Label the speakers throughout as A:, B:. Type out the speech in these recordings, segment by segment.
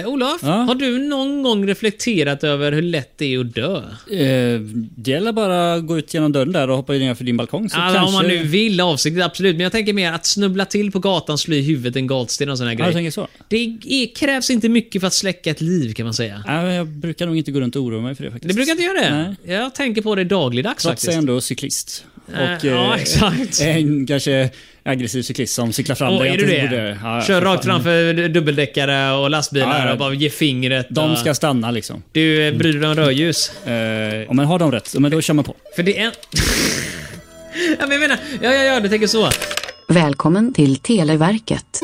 A: Eh, Olof,
B: Ja.
A: har du någon gång reflekterat över hur lätt det är att dö?
B: Eh, det gäller bara att gå ut genom dörren där och hoppa ner för din balkong. Så
A: Alltså,
B: kanske...
A: Om man nu vill avsiktligt, absolut. Men jag tänker mer att snubbla till på gatan, slå i huvudet en gatsten och sån här
B: Ja, du
A: grej.
B: tänker så.
A: Det är, krävs inte mycket för att släcka ett liv kan man säga.
B: Nej, men jag brukar nog inte gå runt och oroa mig för det faktiskt.
A: Det brukar inte göra det. Jag tänker på det dagligdags
B: Trots att jag
A: faktiskt.
B: ändå är cyklist. Och
A: Eh, ja,
B: eh,
A: exakt.
B: är en kanske aggressiv cyklist som cyklar fram
A: Åh,
B: där jag
A: är du
B: inte
A: det?
B: borde. Ja,
A: Kör
B: för
A: rakt
B: fan.
A: framför dubbeldäckare och lastbilar
B: Ja, ja.
A: och bara ge fingret.
B: De
A: och-
B: ska stanna liksom.
A: Du, eh, bryr dig om rödljus?
B: Eh, om man har de rätt, men då kör man på.
A: För det är... en- ja, men jag menar, ja, ja, ja, du tänker så.
C: Välkommen till Televerket.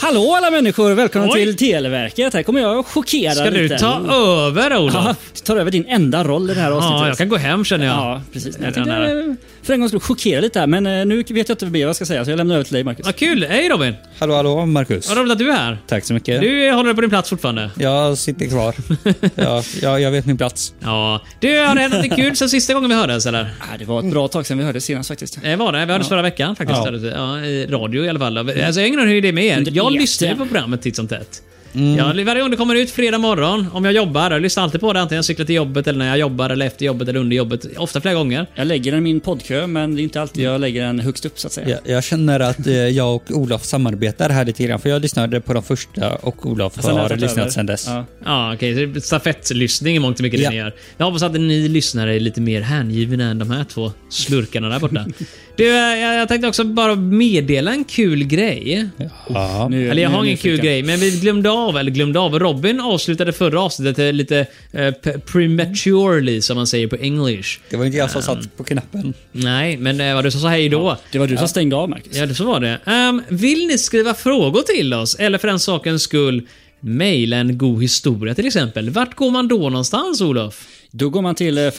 B: Hallå alla människor! Välkomna
A: Oj.
B: till Televerket. Här kommer jag och chockera
A: Ska du
B: lite.
A: ta över Olof?
B: Ja, du tar över din enda roll i det här avsnittet.
A: Ja, jag kan gå hem känner jag.
B: Ja, precis.
A: Ja,
B: Jag tänkte,
A: den här.
B: eh, för en gång skulle chockera lite här, men eh, nu vet jag inte mer vad jag ska säga, så jag lämnar över till dig, Marcus.
A: Vad kul! Hej Robin!
D: Hallå, hallå, Marcus.
A: Vad roligt att du är här.
D: Tack så mycket.
A: Du eh, håller på din plats fortfarande.
D: Jag sitter kvar. ja, jag, jag vet min plats.
A: Ja. Du, har det hänt något kul sen sista gången vi hördes eller?
B: Ah, det var ett bra tag sedan vi hördes senast faktiskt.
A: Eh, var det? Vi hördes förra veckan faktiskt.
D: Ja.
A: hördes vi. Ja, I radio i alla fall. Alltså, jag har ingen aning hur det är med er.
B: Det
A: Jag
B: vet
A: lyssnar ju
B: jag.
A: på programmet titt som tätt. Jag, varje gång det kommer ut fredag morgon, om jag jobbar, jag lyssnar alltid på det. Antingen jag cyklar till jobbet, eller när jag jobbar, eller efter jobbet, eller under jobbet. Ofta flera gånger.
B: Jag lägger den i min poddkö, men det är inte alltid jag lägger den högst upp så att säga.
D: Jag, jag känner att eh, jag och Olof samarbetar här lite grann, för jag lyssnade på de första och Olof
B: Sen
D: har
B: jag tagit över.
D: lyssnat sedan dess.
B: Ja.
A: Ja, okej. så det är Stafettlyssning i mångt och mycket det
D: Ja.
A: ni gör. Jag hoppas att ni lyssnare är lite mer hängivna än de här två slurkarna där borta. du, eh, jag jag tänkte också bara meddela en kul grej.
D: Ja.
B: Nu-
A: Eller jag
B: nu är
A: har ingen
B: nyfiken.
A: kul grej, men vi glömde av, eller glömde av. Robin avslutade förra avsnittet eh, lite eh, p- prematurely, som man säger på english.
D: Det var inte jag som satt på knappen.
A: Nej, men eh, vad du som sa hej då.
B: Det var du som stängde av, Marcus.
A: Ja, det så var det. Ehm, vill ni skriva frågor till oss? Eller för den sakens skull, mejla en god historia till exempel. Vart går man då någonstans, Olof?
B: Då går man till eh,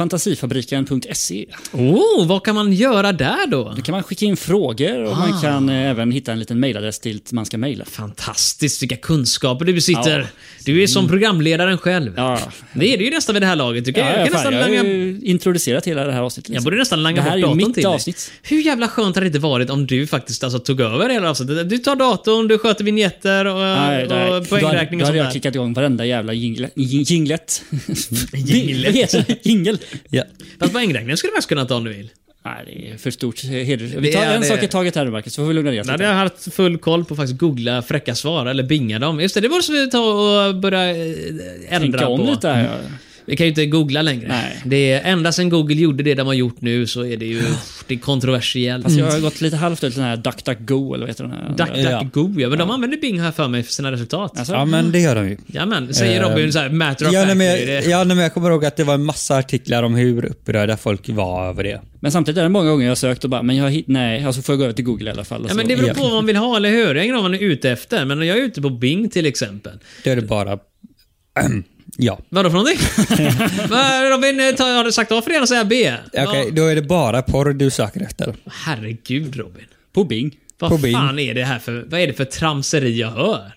B: fantasifabriken.se.
A: Oh, vad kan man göra där då?
B: Då kan man skicka in frågor och
A: Ah.
B: man kan eh, även hitta en liten mejladress till man ska mejla.
A: Fantastiskt, vilka kunskaper du besitter.
B: Ja.
A: Du är som programledaren själv.
B: Ja.
A: Det är du ju nästan vid det här laget. Du kan,
B: Ja,
A: jag
B: ja,
A: kan
B: fan,
A: nästan
B: jag har
A: langa...
B: ju introducerat hela det här avsnittet.
A: Jag
B: liksom.
A: borde nästan langa
B: Det här
A: bort
B: är ju
A: datorn
B: mitt
A: till dig.
B: avsnitt.
A: Hur jävla skönt hade det inte varit om du faktiskt alltså, tog över hela avsnittet? Du tar datorn, du sköter vignetter och,
B: Nej, nej.
A: och poängräkning
B: Då
A: och
B: hade- då hade
A: sånt
B: jag
A: där.
B: klickat igång varenda jävla jingle- jing- jinglet.
A: Jinglet.
B: Jinglet? Jingel.
D: Ja.
A: Fast poängräkningen skulle du faktiskt kunna ta om du vill.
B: Nej, det är för stort eh, heder. Vi
A: Det
B: tar
A: är
B: en
A: det.
B: sak i taget här nu, Marcus, så får vi lugna ner
A: Då hade jag
B: oss.
A: haft full koll på att faktiskt googla fräcka svar eller binga dem. Just det, det måste vi ta och börja eh, ändra
B: Tänka om
A: på. Mm.
B: lite här. ja.
A: Vi kan ju inte googla längre.
B: Nej.
A: Det är, ända sedan Google gjorde det de har gjort nu så är det ju det är kontroversiellt.
B: Fast jag har gått lite halvt ut till den här DuckDuckGo, eller vad heter den här?
A: DuckDuckGo, ja. Men de använder Bing här för mig för sina resultat.
B: Alltså,
D: ja, men det gör de ju.
A: Jajamän, säger Robin så här, matter of
D: Eh, Ja, nej,
A: fact.
D: men,
A: är det-
D: jag, ja, nej, men jag kommer ihåg att det var en massa artiklar om hur upprörda folk var över det.
B: Men samtidigt är det många gånger jag har sökt och bara, men jag hit, nej, alltså får jag gå över till Google i alla fall. och
A: Ja,
B: så-
A: men det beror på vad man vill ha, eller hur? Jag har ingen aning vad man är ute efter, men jag är ute på Bing till exempel.
D: Då är det bara... ja.
A: Vadå för någonting? Vad, Robin, eh, ta, har du sagt A för det ena så jag B?
D: Okej, då är det bara porr du söker efter.
A: Ja, herregud Robin.
B: På Bing.
A: Vad
D: På Bing.
A: fan är det här för, vad är det för tramseri jag hör?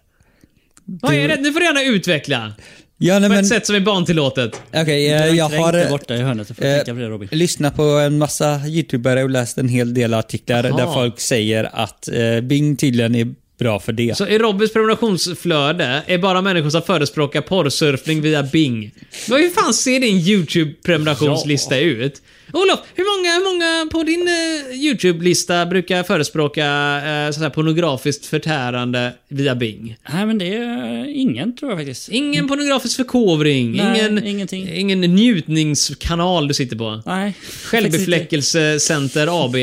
A: Vad är det? Nu får du gärna utveckla.
D: Ja, nej,
A: På
D: men...
A: ett sätt som är barntillåtet.
D: Okej, eh, jag
B: Träng
D: har...
B: dig bort där i hörnet och får
A: eh,
B: tänka på det Robin.
D: Eh, lyssna på en massa youtubare och läst en hel del artiklar
A: Jaha.
D: där folk säger att eh, Bing tydligen är bra för det.
A: Så i Robins prenumerationsflöde är bara människor som förespråkar porrsurfning via Bing. Men hur fan ser din YouTube-prenumerationslista ut? Olof, hur många, hur många på din eh, YouTube-lista brukar förespråka eh, sådär pornografiskt förtärande via Bing?
B: Nej, men det är eh, ingen tror jag faktiskt.
A: Ingen pornografisk förkovring,
B: Mm. Nej,
A: ingen,
B: ingenting.
A: ingen njutningskanal du sitter på.
B: Nej.
A: Självbefläckelsecenter AB.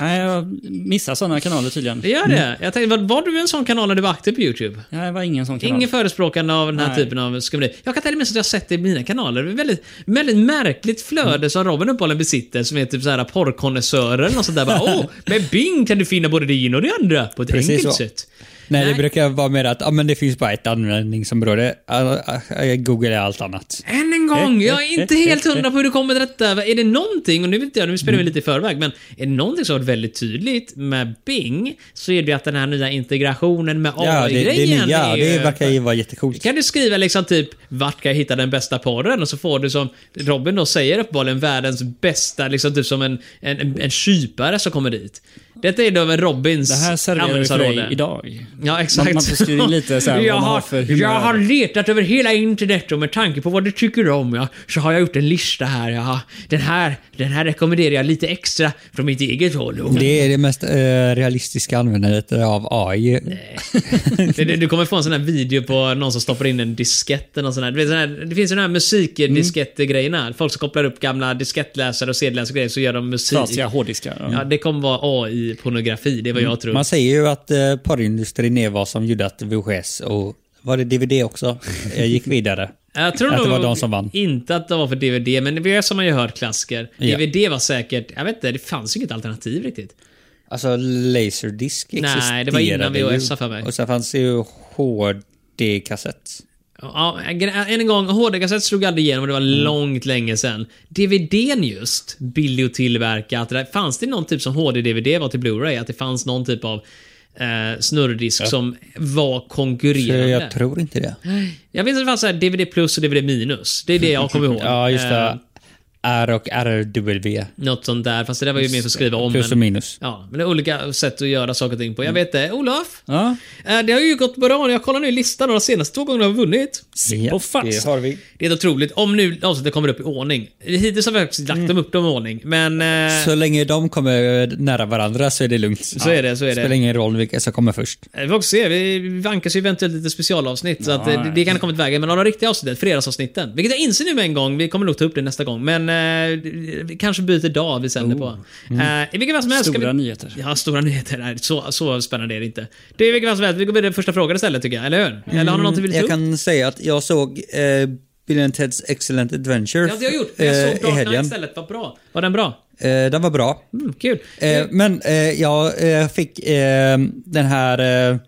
B: Nej, jag missar sådana kanaler tydligen.
A: Det gör det.
B: Mm.
A: Jag tänkte, var, var du en sån kanal när du var aktiv på YouTube?
B: Nej, det var ingen sån kanal.
A: Ingen förespråkande av den här
B: Nej.
A: typen av skumri. Jag kan till och med säga att jag har sett det i mina kanaler. Det är väldigt, väldigt märkligt flöde som Robin uppehållen besitter som är typ såhär porrkonnässörer eller något sånt där. Bara, Åh, med Bing kan du finna både det ena och det andra på ett
D: Precis
A: enkelt
D: så.
A: sätt.
D: Nej,
A: Nej.
D: det brukar vara mer att ah, men det finns bara ett användningsområde. Ah, ah, ah, Google är allt annat.
A: Än en gång, jag är inte helt hundra på hur du kommer till detta. Är det någonting, och nu vet jag, nu
D: Mm.
A: spelar vi lite i förväg, men är det någonting som har varit väldigt tydligt med Bing så är det ju att den här nya integrationen med
D: Ja, det, det
A: AI-grejen
D: är nya.
A: ju-
D: Det verkar ju vara jättecoolt.
A: kan du skriva liksom typ vart kan jag hitta den bästa porren och så får du som Robin då säger uppenbarligen världens bästa, liksom typ som en, en, en, en kypare som kommer dit. Detta är då med Robins
B: Det här serverar vi för dig
A: användningsområde.
B: idag.
A: Ja, exakt.
B: Man- man får skriva in lite så här vad
A: jag,
B: man har
A: har,
B: för humör.
A: jag har letat över hela internet och med tanke på vad du tycker om, ja, så har jag gjort en lista här. Ja. Den, här den här rekommenderar jag lite extra från mitt eget håll. Och-
D: Det är det mest eh, realistiska användandet av AI.
A: Det- det- Du kommer få en sån här video på någon som stoppar in en diskett eller något sånt här. Du vet, sån här. Det finns ju de här musikdiskett-grejerna.
D: Mm.
A: Folk som kopplar upp gamla diskettläsare och sedeläsare och grejer så gör de musik.
B: Trasiga hårddiskar.
A: Ja, det kommer vara AI-pornografi, det är vad jag tror.
D: Mm. Man säger ju att eh, porrindustrin är vad som gjorde att VHS och var det DVD också? Jag gick vidare.
A: Jag tror
D: Att det
A: nog
D: var de som vann.
A: Inte att det var för DVD, men vi är som man ju hört klassiker.
D: Ja.
A: DVD var säkert, jag vet inte, det fanns ju inget alternativ riktigt.
D: Alltså Laserdisc
A: Nej, det var
D: existerade
A: innan
D: ju.
A: VHS för mig.
D: Och sen fanns det ju HD-kassett.
A: Ja, än en gång, HD-kassett slog aldrig igenom och det var
D: Mm.
A: långt länge sedan. DVDn just, billig att tillverka. Att det där, fanns det någon typ som HD-DVD var till Blu-ray? Att det fanns någon typ av eh, snurrdisk som var
D: Så
A: konkurrerande?
D: jag tror inte det.
A: Jag vet att det fanns så här DVD plus och DVD minus. Det är det jag kommer ihåg.
D: Ja, just
A: Eh,
D: det. R och RW.
A: något sånt där, fast det där var ju mer för att skriva om.
D: Plus och Mm.
A: men-
D: minus.
A: Ja, men det är olika sätt att göra saker och ting på. Jag vet det. Olof?
B: Ja.
A: Eh, Det har ju gått bra. Jag kollar nu listan och de senaste två gångerna har vi vunnit.
D: Ja,
B: på fast.
D: Det har vi.
A: Det är otroligt. Om nu avsnittet kommer upp i ordning. Hittills har vi faktiskt lagt dem upp dem i ordning, men... eh,
D: Mm. Så länge de kommer nära varandra så är det lugnt.
A: Så är det, så är det.
D: Spelar ingen roll vilka som kommer först.
A: Vi får också se, vi vankas ju eventuellt lite specialavsnitt, så att eh, det, det kan ha kommit vägen. Men av de riktiga avsnitten, fredagsavsnitten, vilket jag inser nu med en gång, vi kommer nog ta upp det nästa gång, men eh, vi kanske byter dag vi sänder
D: Oh.
A: på.
D: Mm.
A: Eh, I vilket fall som helst ska
B: Stora
A: vi...
B: nyheter.
A: Ja, stora nyheter. Nej, så, så spännande är det inte. Det är vilket fall som helst, vi går vidare till första frågan istället tycker jag, eller hur? Eller har du något du vill ta
D: Mm, Jag
A: upp?
D: kan säga att jag såg eh, Bill and Ted's Excellent
A: Ja,
D: Adventure
A: det har jag gjort. Jag
D: eh,
A: såg
D: i
A: Dark Knight
D: helgen.
A: istället, vad bra. Var den bra?
D: Eh, den var bra.
A: Mm, kul.
D: Eh, men eh, jag eh, fick eh, den här eh,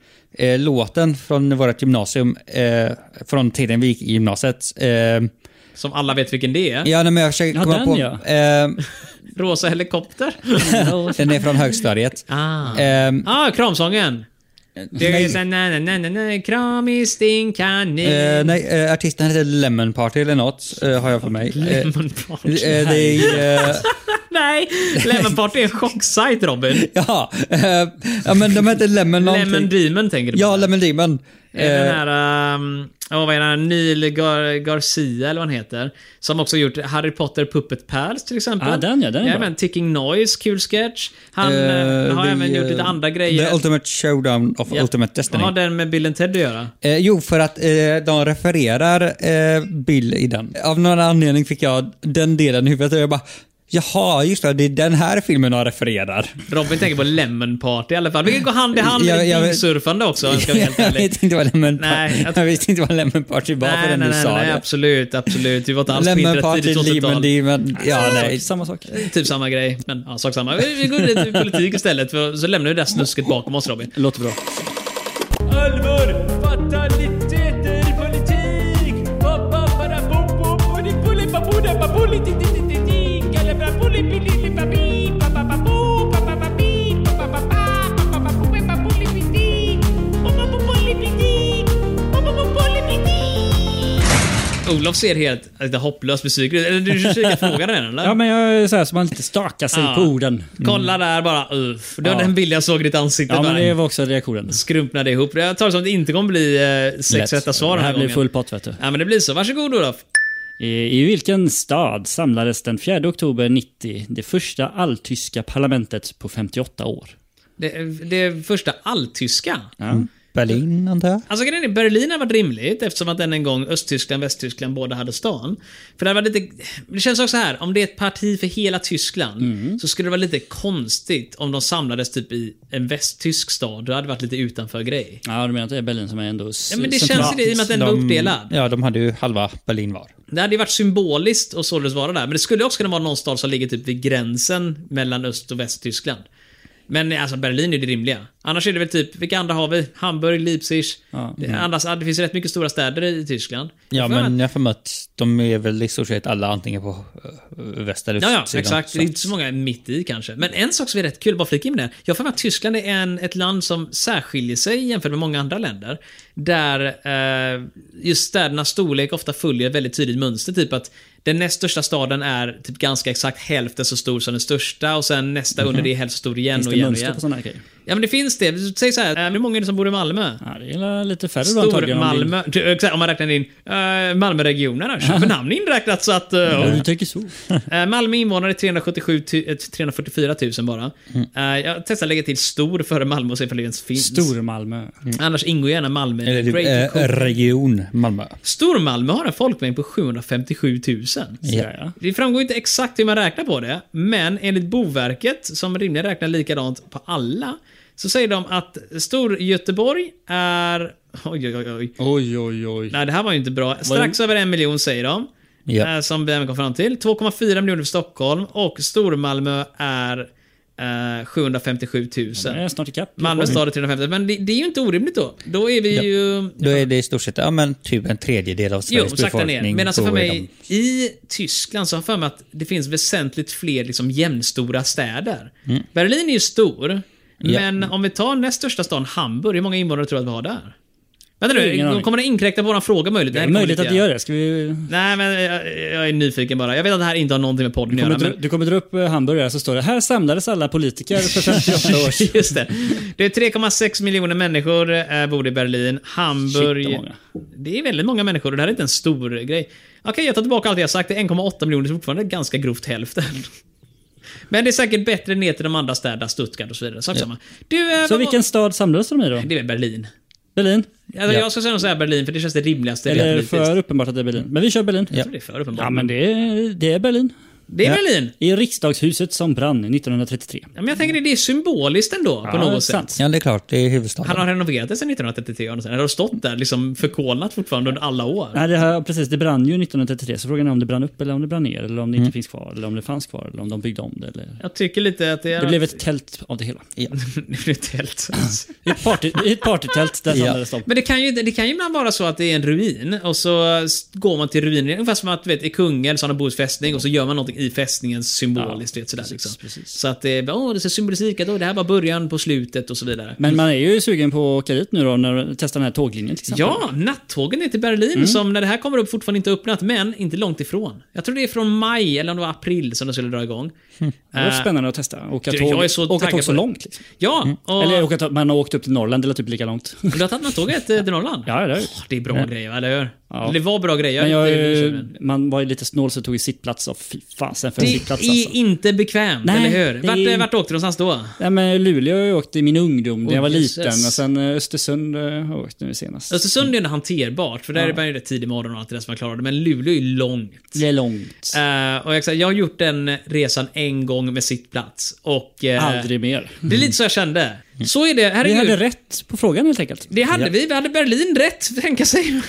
D: eh, låten från vårt gymnasium, eh, från tiden vi gick i gymnasiet. Eh,
A: Som alla vet vilken det är.
D: ja, nej, men jag försöker
B: Ja,
D: komma
B: den,
D: på...
B: ja.
D: Eh,
A: Rosa helikopter.
D: den är från högstadiet.
A: ah.
D: Eh,
A: ah, kramsången. Det
D: nej.
A: är sån na, na, na, na, na, kramis din kanin.
D: Eh, nej, eh, artisten heter Lemon Party eller något, eh, har jag för mig. Eh,
A: Lemon Party.
D: eh, det är, eh,
A: Nej, Lemon Party är en chocksajt Robin.
D: ja, eh, ja, men de heter Lemon någonting.
A: Lemon Demon tänker du på?
D: Ja, Lemon Demon.
A: Är det Den
D: Eh,
A: här, ehm, åh, vad är den här, Neil Gar- Garcia eller vad han heter. Som också gjort Harry Potter Puppet Pals till exempel.
B: Ah, den ja, den är bra.
A: Även Ticking Noise, kul sketch. Han eh,
D: eh,
A: har
D: det,
A: även gjort lite
D: eh,
A: andra grejer.
D: The Ultimate Showdown of
A: Ja.
D: Ultimate Destiny.
A: Vad har den med Bill and Ted att göra?
D: Eh, jo, för att eh, de refererar eh, Bill i den. Av någon anledning fick jag den delen i huvudet och jag bara Jaha, just det. Det är den här filmen de refererar.
A: Robin tänker på Lemon Party i alla fall. Vilket går hand i hand
D: Jag- jag
A: med
D: vet-
A: bingsurfande också, ska vi helt
D: jag
A: ärligt.
D: vet inte vad Lemon
A: Nej,
D: Party...
A: jag-
D: Jag visste inte vad Lemon Party var
A: Nej,
D: förrän
A: nej,
D: du
A: nej,
D: sa
A: nej,
D: det.
A: absolut, absolut. Vi var inte alls på
D: Lemon
A: internet
D: Party,
A: tidigt
D: Lemon
A: 80-tal.
D: Demon... Ja, nej.
B: Samma sak.
A: Typ samma grej, men ja, sak samma. Vi, vi går vidare till politik istället, för, så lämnar vi det där snusket bakom oss Robin.
B: Låter bra.
A: Allvar, fataliteter, politik! Olof ser helt lite hopplöst besviken ut. Eller du försöker fråga den eller?
B: Ja, men jag är så här så man lite stakar sig
A: Ja.
B: på orden. Mm.
A: Kolla där bara. Uff. Det var
B: Ja.
A: den bild jag såg i ditt ansikte.
B: Ja,
A: bara.
B: men det var också reaktionen.
A: Skrumpnade ihop. Jag tar det som att det inte kommer bli eh, sex rätta svar
B: Det
A: den här
B: här blir
A: gången.
B: full pott vet du.
A: Ja, men det blir så. Varsågod Olof.
B: I, I vilken stad samlades den 4 oktober 90 det första alltyska parlamentet på 58 år?
A: Det, det första alltyska.
B: Ja.
D: Berlin, antar jag.
A: Alltså grejen är, Berlin har varit rimligt eftersom att den en gång Östtyskland och Västtyskland båda hade stan. För det var lite... Det känns också så här, om det är ett parti för hela Tyskland så skulle det vara lite konstigt om de samlades typ i en västtysk stad. Då hade det varit lite utanför grej.
B: ja, du menar att det är Berlin som är ändå
A: Ja, men det känns ju det i och med att den var uppdelad.
D: Ja, de hade ju halva Berlin var.
A: Det hade ju varit symboliskt och således vara där. Men det skulle också kunna vara någon stad som ligger typ vid gränsen mellan Öst och Västtyskland. Men alltså Berlin är det rimliga. Annars är det väl typ, vilka andra har vi? Hamburg, Leipzig.
B: Ja.
A: Det, annars, det finns rätt mycket stora städer i Tyskland.
D: Ja,
A: Jag får
D: men jag har för mig att de är väl i stort sett alla antingen på eh, väst eller
A: Ja, ja,
D: sidan.
A: exakt.
D: Så.
A: Det är inte så många mitt i kanske. Men en sak som är rätt kul, bara flika in med det. här. Jag får med att Tyskland är en, ett land som särskiljer sig jämfört med många andra länder. Där eh, just städernas storlek ofta följer ett väldigt tydligt mönster. Typ att den näst största staden är typ ganska exakt hälften så stor som den största och sen nästa under det är hälften så stor igen
B: Mhm. Finns
A: och
B: det
A: igen och
B: mönster
A: igen.
B: på sådana här grejer?
A: Ja, men det finns det. Säg så här, eh, hur många är det som bor i Malmö?
B: Ja, det är lite färre då
A: Stor
B: antagligen. om det-
A: Malmö, du, exakt, om man räknar in uh, Malmöregionen, då. Köpenhamn är inräknat så att... eh,
B: Ja, du tycker så.
A: Eh, Malmö invånare 377 tu- eh, 344 000 bara. Eh, Jag testar lägga till stor före Malmö och se ifall det ens finns.
B: Stor Malmö.
A: Annars ingår gärna Malmö i
D: Eller
A: Greater
D: typ, eh,
A: Copenhagen.
D: region Malmö.
A: Stor Malmö har en folkmängd på 757 000.
B: Ja. Ja.
A: Det framgår inte exakt hur man räknar på det, men enligt Boverket, som rimligen räknar likadant på alla, så säger de att Storgöteborg är... Oj, oj, oj, oj.
B: Oj, oj, oj.
A: Nej, det här var ju inte bra. Strax över en miljon säger de.
D: Ja.
A: Eh, Som vi även kom fram till. 2,4 miljoner för Stockholm och Stormalmö är eh, 757 000.
B: Jag är snart ikapp.
A: Malmö stad är 350 men det, det är ju inte orimligt då. Då är vi ju...
D: Då är det i stort sett ja, men typ en tredjedel av
A: Jo,
D: Sveriges
A: sakta
D: befolkning.
A: ner. Men alltså
D: bor
A: för
D: i
A: mig, i Tyskland så har jag för mig att det finns väsentligt fler liksom jämnstora städer.
B: Mm.
A: Berlin är ju stor,
D: Ja.
A: men om vi tar näst största staden, Hamburg, hur många invånare tror du att vi har där? Vänta
B: Ingen
A: nu,
B: aning.
A: kommer det inkräkta på våran fråga möjligt?
B: Det är möjligt att det gör det. Ska vi...
A: Nej, men jag, jag är nyfiken bara. Jag vet att det här inte har någonting med podden
B: Du
A: att
B: kommer,
A: göra.
B: dra,
A: Men
B: du kommer dra upp eh, hamburgare så står det “Här samlades alla politiker för 58 år sedan”.
A: Just det. Det är 3,6 miljoner människor eh, bor i Berlin. Hamburg.
B: Shit, vad många.
A: det är väldigt många människor och det här är inte en stor grej. Okej, jag tar tillbaka allt jag sagt. Det är 1,8 miljoner, så fortfarande ganska grovt hälften. Men det är säkert bättre ner till de andra städerna, Stuttgart och så vidare. Sak samma. Du, eh, vad
B: Så
A: var-
B: vilken stad samlades de i då?
A: Det är väl Berlin.
B: Berlin?
A: Alltså, Jag ska säga nog säga Berlin, för det känns det rimligaste.
B: Eller
A: rent politiskt.
B: för uppenbart att det är Berlin. Men vi kör Berlin.
A: Jag tror det är för uppenbart.
B: Ja, men det är, det är Berlin.
A: Det är Berlin.
B: I riksdagshuset som brann 1933.
A: Ja, men jag tänker det är symboliskt ändå, på
B: Ja,
A: något
B: sant.
A: sätt.
D: Ja, det är klart. Det är huvudstaden.
A: Han har renoverat det sedan 1933 och sen har det stått där liksom förkolnat fortfarande under alla år.
B: Nej, det här, precis. Det brann ju 1933, så frågan är om det brann upp eller om det brann ner, eller om det inte finns kvar, eller om det fanns kvar, eller om de byggde om det. Eller...
A: Jag tycker lite att det...
B: Det blev ett tält av det hela.
A: Det blev ett tält.
B: Ett, party, ett partytält där
D: Ja.
B: samlades de.
A: Men det kan, ju, det kan ju ibland vara så att det är en ruin och så s- går man till ruinen. Ungefär som att du vet, i Kungälv så har de bos fästning och så gör man någonting i fästningen symboliskt. vet, sådär, liksom. Så att det, åh, det ser symbolistik att åh, det här var början på slutet och så vidare.
B: Men man är ju sugen på att åka dit nu då, när testa den här tåglinjen till exempel.
A: Ja, nattågen ner till Berlin
B: Mm.
A: som när det här kommer upp fortfarande inte har öppnat, men inte långt ifrån. Jag tror det är från maj, eller om det var april, som de skulle dra igång.
B: Hm. Det var
A: Eh,
B: spännande att testa. Åka
A: Du,
B: tåg,
A: jag är så
B: åka
A: taggad
B: tåg
A: på
B: så
A: det.
B: långt. Liksom.
A: Ja, och...
B: Eller åka tåg, man har åkt upp till Norrland, det är typ lika långt.
A: Men Du har tagit nattåget eh, till Norrland?
B: Ja, det har jag
A: Åh, Det är bra grejer, eller hur?
B: Ja.
A: Det var bra grejer.
B: Men jag,
A: det, det,
B: eh, man var ju lite snål så tog ju sittplats. Och fy fasen för en
A: det
B: sittplats
A: är
B: alltså.
A: inte bekvämt,
B: Nej,
A: eller hur?
B: det
A: Vart,
B: är-
A: eh, vart åkte du någonstans då?
B: Nej, men Luleå har jag åkt i min ungdom, när jag var
A: Åh, Jesus.
B: liten. Och sen eh, Östersund eh, har jag åkt nu senast.
A: Östersund är ändå hanterbart, för där är man ju rätt tidig morgon och allt det där som man klarar det. Men Luleå är ju långt.
B: Det är långt.
A: Eh, och jag, jag har gjort den resan en gång med sittplats. Och, eh,
B: Aldrig mer.
A: Det är lite så jag kände. Mm. Så är det,
B: Vi
A: herregud.
B: hade rätt på frågan helt enkelt.
A: det hade vi, vi hade Berlin rätt, tänka sig.